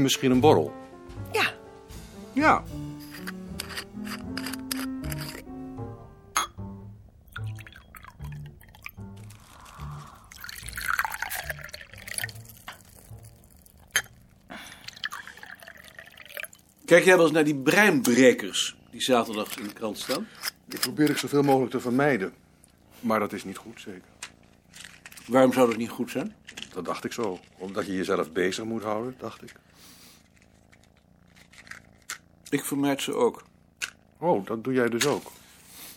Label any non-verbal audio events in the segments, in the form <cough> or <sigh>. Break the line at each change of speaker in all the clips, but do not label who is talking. misschien een borrel?
Ja,
Ja. Kijk jij wel eens naar die breinbrekers die zaterdags in de krant staan?
Dat probeer ik zoveel mogelijk te vermijden. Maar dat is niet goed, zeker.
Waarom zou dat niet goed zijn?
Dat dacht ik zo. Omdat je jezelf bezig moet houden, dacht ik.
Ik vermijd ze ook.
Oh, dat doe jij dus ook.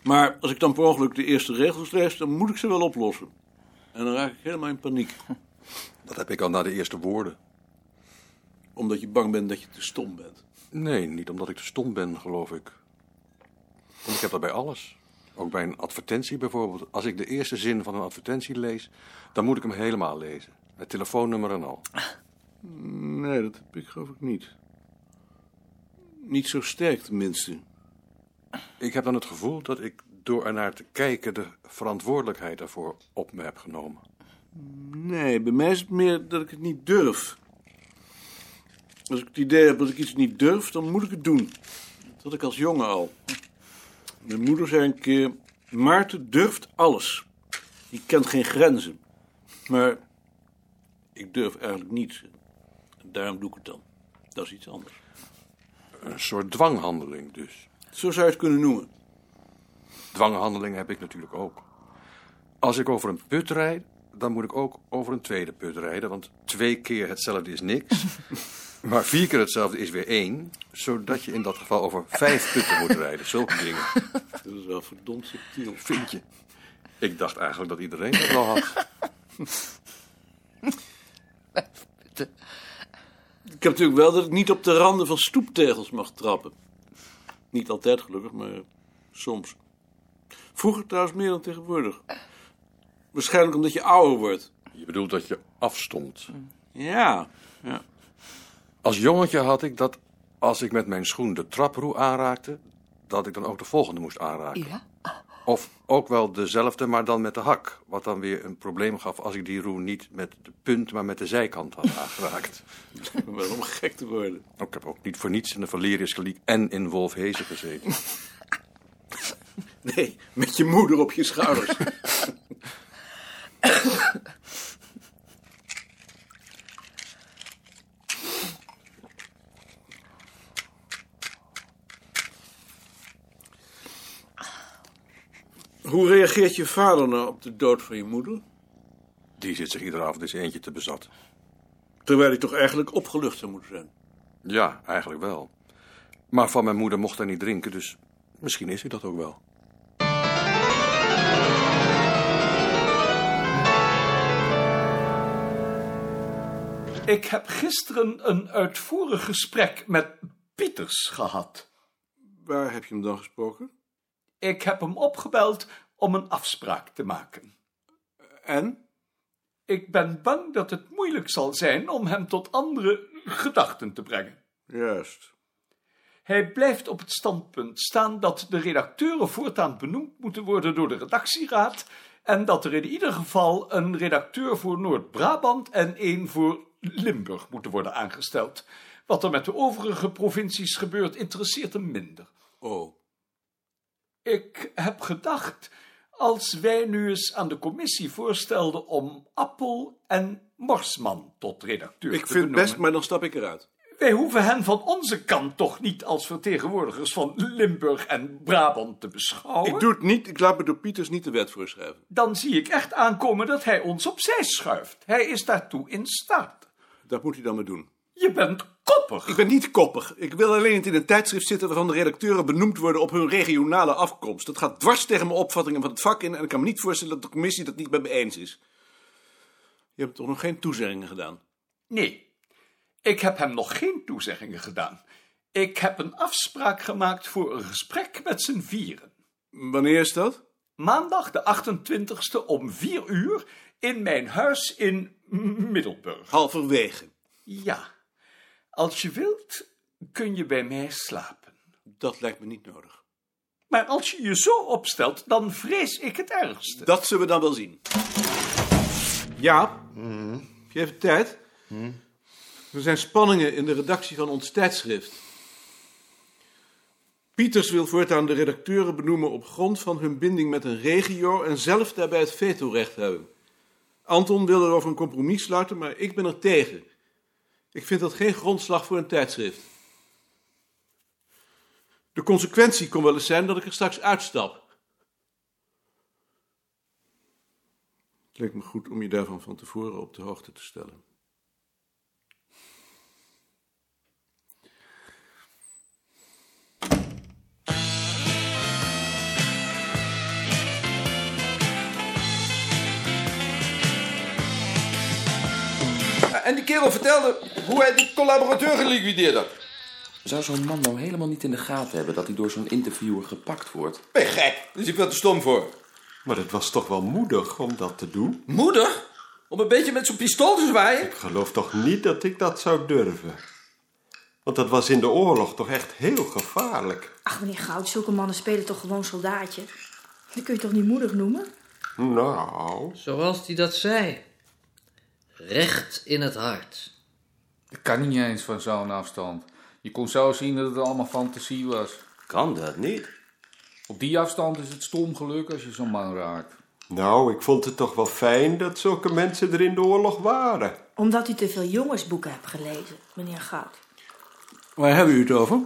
Maar als ik dan per ongeluk de eerste regels lees, dan moet ik ze wel oplossen. En dan raak ik helemaal in <laughs> paniek.
Dat heb ik al na de eerste woorden.
Omdat je bang bent dat je te stom bent.
Nee, niet omdat ik te stom ben, geloof ik. Want ik heb dat bij alles. Ook bij een advertentie bijvoorbeeld. Als ik de eerste zin van een advertentie lees, dan moet ik hem helemaal lezen. Het telefoonnummer en al.
Nee, dat heb ik geloof ik niet. Niet zo sterk tenminste.
Ik heb dan het gevoel dat ik door ernaar te kijken de verantwoordelijkheid daarvoor op me heb genomen.
Nee, bij mij is het meer dat ik het niet durf. Als ik het idee heb dat ik iets niet durf, dan moet ik het doen. Dat had ik als jongen al. Mijn moeder zei een keer, Maarten durft alles. Die kent geen grenzen. Maar ik durf eigenlijk niets. En daarom doe ik het dan. Dat is iets anders.
Een soort dwanghandeling dus.
Zo zou je het kunnen noemen.
Dwanghandelingen heb ik natuurlijk ook. Als ik over een put rijd, dan moet ik ook over een tweede put rijden. Want twee keer hetzelfde is <laughs> niks. maar vier keer hetzelfde is weer één. Zodat je in dat geval over vijf putten moet rijden. Zulke dingen.
Dat is wel verdomd subtiel.
Vind je? Ik dacht eigenlijk dat iedereen dat wel had.
Ik heb natuurlijk wel dat ik niet op de randen van stoeptegels mag trappen. Niet altijd gelukkig, maar soms. Vroeger trouwens meer dan tegenwoordig. Waarschijnlijk omdat je ouder wordt.
Je bedoelt dat je afstond.
Ja. ja.
Als jongetje had ik dat als ik met mijn schoen de traproe aanraakte, dat ik dan ook de volgende moest aanraken.
ja.
Of ook wel dezelfde, maar dan met de hak. Wat dan weer een probleem gaf als ik die roe niet met de punt, maar met de zijkant had aangeraakt. Nou,
Ik ben wel om gek te worden.
ik heb ook niet voor niets in de Valerius Geliek en in Wolfhezen gezeten.
Nee, met je moeder op je schouders. Hoe reageert je vader nou op de dood van je moeder?
Die zit zich iedere avond eens eentje te bezat.
Terwijl hij toch eigenlijk opgelucht zou moeten zijn.
Ja, eigenlijk wel. Maar van mijn moeder mocht hij niet drinken, dus misschien is hij dat ook wel.
Ik heb gisteren een uitvoerig gesprek met Pieters gehad.
Waar heb je hem dan gesproken?
Ik heb hem opgebeld om een afspraak te maken.
En?
Ik ben bang dat het moeilijk zal zijn om hem tot andere gedachten te brengen.
Juist.
Hij blijft op het standpunt staan dat de redacteuren voortaan benoemd moeten worden door de redactieraad en dat er in ieder geval een redacteur voor Noord-Brabant en één voor Limburg moeten worden aangesteld. Wat er met de overige provincies gebeurt, interesseert hem minder.
Oh.
Ik heb gedacht, als wij nu eens aan de commissie voorstelden om Appel en Morsman tot redacteur
Ik
te
vind het
benoemen.
best, maar dan stap ik eruit.
Wij hoeven hen van onze kant toch niet als vertegenwoordigers van Limburg en Brabant te beschouwen.
Ik doe het niet. Ik laat me door Pieters niet de wet voorschrijven.
Dan zie ik echt aankomen dat hij ons opzij schuift. Hij is daartoe in staat.
Dat moet hij dan maar doen.
Je bent koppig.
Ik ben niet koppig. Ik wil alleen niet in een tijdschrift zitten waarvan de redacteuren benoemd worden op hun regionale afkomst. Dat gaat dwars tegen mijn opvattingen van het vak in en ik kan me niet voorstellen dat de commissie dat niet met me eens is. Je hebt toch nog geen toezeggingen gedaan?
Nee, ik heb hem nog geen toezeggingen gedaan. Ik heb een afspraak gemaakt voor een gesprek met z'n vieren.
Wanneer is dat?
Maandag de 28e om 4 uur in mijn huis in M- Middelburg.
Halverwege.
Ja, als je wilt kun je bij mij slapen.
Dat lijkt me niet nodig.
Maar als je je zo opstelt, dan vrees ik het ergste.
Dat zullen we dan wel zien. Ja? Heb je even tijd? Er zijn spanningen in de redactie van ons tijdschrift. Pieters wil voortaan de redacteuren benoemen op grond van hun binding met een regio en zelf daarbij het vetorecht hebben. Anton wil erover een compromis sluiten, maar ik ben er tegen. Ik vind dat geen grondslag voor een tijdschrift. De consequentie kon wel eens zijn dat ik er straks uitstap. Het leek me goed om je daarvan van tevoren op de hoogte te stellen.
En die kerel vertelde hoe hij die collaborateur geliquideerd had.
Zou zo'n man nou helemaal niet in de gaten hebben dat hij door zo'n interviewer gepakt wordt?
Ben je gek? Daar is hij veel te stom voor.
Maar het was toch wel moedig om dat te doen?
Moeder? Om een beetje met zo'n pistool te zwaaien?
Ik geloof toch niet dat ik dat zou durven? Want dat was in de oorlog toch echt heel gevaarlijk.
Ach, meneer Goud, zulke mannen spelen toch gewoon soldaatje? Dat kun je toch niet moedig noemen?
Nou,
Zoals hij dat zei. Recht in het hart.
Dat kan niet eens van zo'n afstand. Je kon zo zien dat het allemaal fantasie was.
Kan dat niet?
Op die afstand is het stom geluk als je zo'n man raakt.
nou, ik vond het toch wel fijn dat zulke mensen er in de oorlog waren.
Omdat u te veel jongensboeken hebt gelezen, meneer Goud.
Waar hebben u het over?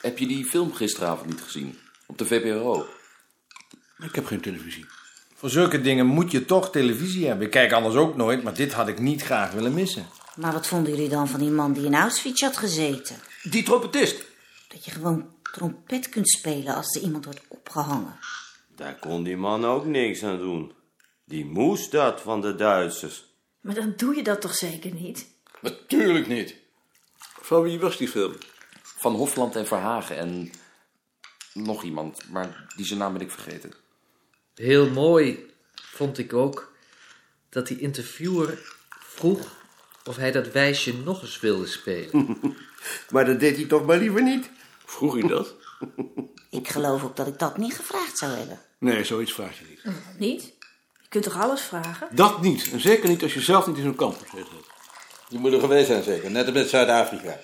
Heb je die film gisteravond niet gezien? Op de VPRO?
Ik heb geen televisie.
Voor zulke dingen moet je toch televisie hebben. Ik kijk anders ook nooit, maar dit had ik niet graag willen missen.
Maar wat vonden jullie dan van die man die in Auschwitz had gezeten?
Die trompetist.
Dat je gewoon trompet kunt spelen als er iemand wordt opgehangen.
Daar kon die man ook niks aan doen. Die moest dat van de Duitsers.
Maar dan doe je dat toch zeker niet?
Natuurlijk niet.
Van wie was die film?
Van Hofland en Verhagen en nog iemand, maar die zijn naam ben ik vergeten.
Heel mooi, vond ik ook, dat die interviewer vroeg of hij dat wijsje nog eens wilde spelen.
Maar dat deed hij toch maar liever niet.
Vroeg u dat?
<laughs> Ik geloof ook dat ik dat niet gevraagd zou hebben.
Nee, zoiets vraag je niet.
Niet? Je kunt toch alles vragen?
Dat niet. En zeker niet als je zelf niet in zo'n kamp gezeten hebt.
Die moet er geweest zijn zeker, net als met Zuid-Afrika.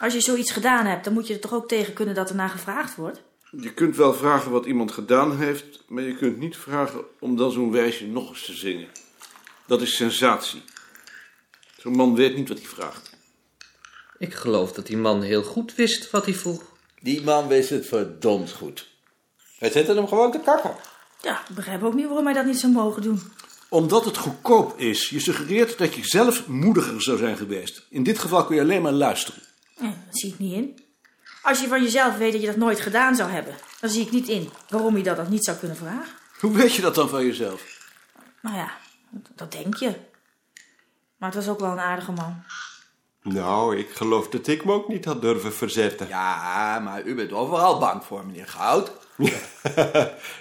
Als je zoiets gedaan hebt, dan moet je er toch ook tegen kunnen dat er naar gevraagd wordt?
Je kunt wel vragen wat iemand gedaan heeft, maar je kunt niet vragen om dan zo'n wijsje nog eens te zingen. Dat is sensatie. Zo'n man weet niet wat hij vraagt.
Ik geloof dat die man heel goed wist wat hij vroeg.
Die man wist het verdomd goed. Hij zette hem gewoon te kakken.
Ja, ik begrijp ook niet waarom hij dat niet zou mogen doen.
Omdat het goedkoop is. Je suggereert dat je zelf moediger zou zijn geweest. In dit geval kun je alleen maar luisteren.
Eh, dat zie ik niet in. Als je van jezelf weet dat je dat nooit gedaan zou hebben, dan zie ik niet in waarom je dat dan niet zou kunnen vragen.
Hoe weet je dat dan van jezelf?
Nou ja, dat- dat denk je. Maar het was ook wel een aardige man.
Nou, ik geloof dat ik me ook niet had durven verzetten.
Ja, maar u bent overal bang voor, meneer Goud.
<laughs>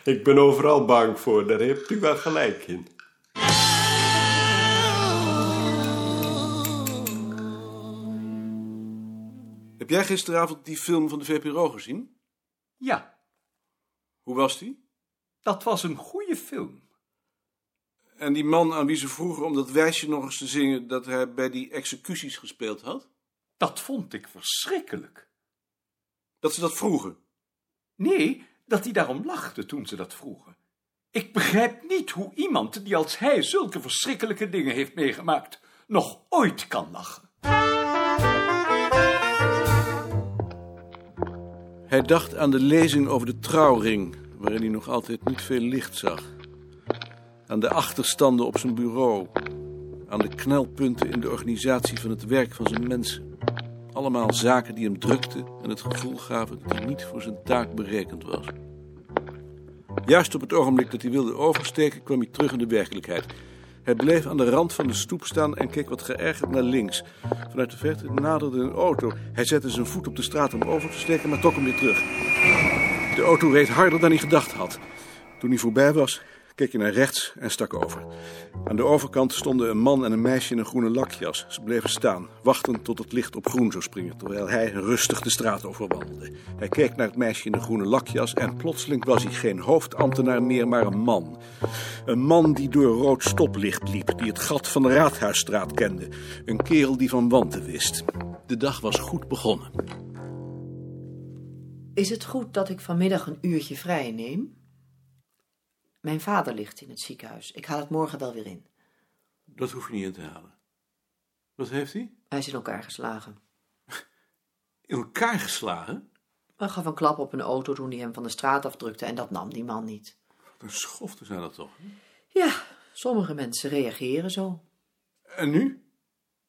ik ben overal bang voor, daar hebt u wel gelijk in.
Heb jij gisteravond die film van de VPRO gezien?
Ja,
Hoe was die?
dat was een goede film.
En die man aan wie ze vroegen om dat wijsje nog eens te zingen dat hij bij die executies gespeeld had?
Dat vond ik verschrikkelijk.
Dat ze dat vroegen.
Nee, dat hij daarom lachte toen ze dat vroegen. Ik begrijp niet hoe iemand die als hij zulke verschrikkelijke dingen heeft meegemaakt, nog ooit kan lachen.
Hij dacht aan de lezing over de trouwring, waarin hij nog altijd niet veel licht zag. Aan de achterstanden op zijn bureau. Aan de knelpunten in de organisatie van het werk van zijn mensen. Allemaal zaken die hem drukten en het gevoel gaven dat hij niet voor zijn taak berekend was. Juist op het ogenblik dat hij wilde oversteken, kwam hij terug in de werkelijkheid. Hij bleef aan de rand van de stoep staan en keek wat geërgerd naar links. Vanuit de verte naderde een auto. Hij zette zijn voet op de straat om over te steken, maar trok hem weer terug. De auto reed harder dan hij gedacht had. Toen hij voorbij was,
keek hij naar rechts en stak over. Aan de overkant stonden een man en een meisje in een groene lakjas. Ze bleven staan, wachtend tot het licht op groen zou springen, terwijl hij rustig de straat overwandelde. Hij keek naar het meisje in de groene lakjas en plotseling was hij geen hoofdambtenaar meer, maar een man. Een man die door rood stoplicht liep, die het gat van de Raadhuisstraat kende. Een kerel die van wanten wist. De dag was goed begonnen.
Is het goed dat ik vanmiddag een uurtje vrij neem? Mijn vader ligt in het ziekenhuis. Ik haal het morgen wel weer in.
Dat hoef je niet in te halen. Wat heeft hij?
Hij is in elkaar geslagen.
In elkaar geslagen?
Hij gaf een klap op een auto toen hij hem van de straat afdrukte en dat nam die man niet.
Wat een schoften zijn dat toch?
Ja, sommige mensen reageren zo.
En nu?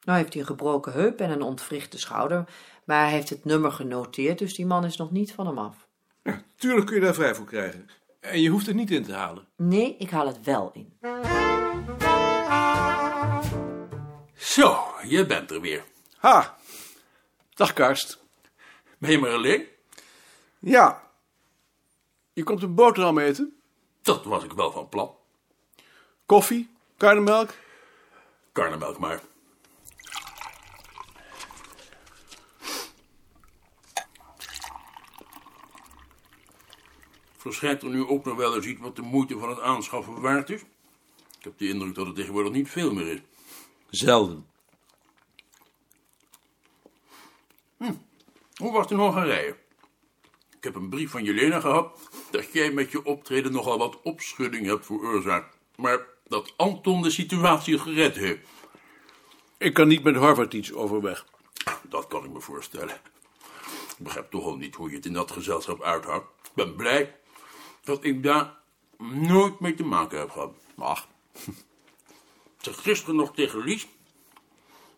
Nou heeft hij een gebroken heup en een ontwrichte schouder, maar hij heeft het nummer genoteerd, dus die man is nog niet van hem af.
Tuurlijk kun je daar vrij voor krijgen. En je hoeft het niet in te halen.
Nee, ik haal het wel in.
Zo, je bent er weer.
Ha!
Dag, Karst. Ben je maar alleen?
Ja. Je komt een boterham eten?
Dat was ik wel van plan.
Koffie? Karnemelk?
Karnemelk maar. Verschijnt er nu ook nog wel eens iets wat de moeite van het aanschaffen waard is? Ik heb de indruk dat het tegenwoordig niet veel meer is.
Zelden.
Hoe was het in Hongarije? Ik heb een brief van Jelena gehad dat jij met je optreden nogal wat opschudding hebt veroorzaakt. Maar dat Anton de situatie gered heeft.
Ik kan niet met Harvard iets overweg.
Dat kan ik me voorstellen. Ik begrijp toch al niet hoe je het in dat gezelschap uithoudt. Ik ben blij dat ik daar nooit mee te maken heb gehad.
<laughs>
Ach. Ik zeg gisteren nog tegen Lies.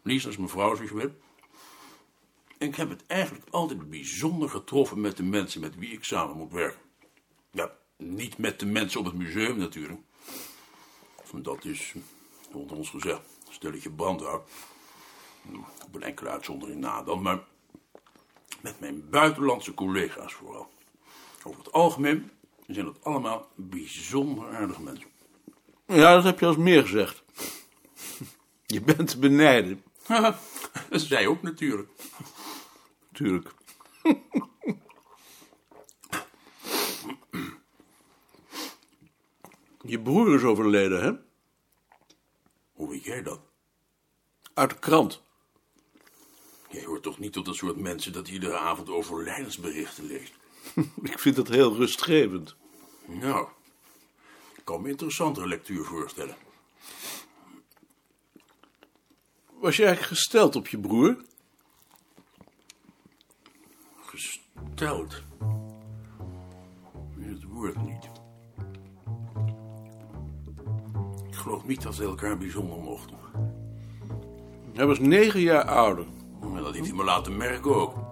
Lies is mevrouw, zoals je weet. Ik heb het eigenlijk altijd bijzonder getroffen met de mensen met wie ik samen moet werken. Ja, niet met de mensen op het museum natuurlijk. Want dat is, onder ons gezegd, een stelletje brandhout. Op een enkele uitzondering na dan, maar met mijn buitenlandse collega's vooral. Over het algemeen zijn het allemaal bijzonder aardige mensen.
Ja, dat heb je als meer gezegd. <laughs> Je bent te benijden.
<laughs> Zij ook natuurlijk.
Tuurlijk. Je broer is overleden, hè?
Hoe weet jij dat?
Uit de krant.
Jij hoort toch niet tot dat soort mensen dat iedere avond overlijdensberichten leest?
<laughs> Ik vind dat heel rustgevend.
Nou, ik kan me interessante lectuur voorstellen.
Was je eigenlijk gesteld op je broer?
Gesteld. Het woord niet. Ik geloof niet dat ze elkaar bijzonder mochten.
Hij was negen jaar ouder.
Maar dat heeft hij me laten merken ook.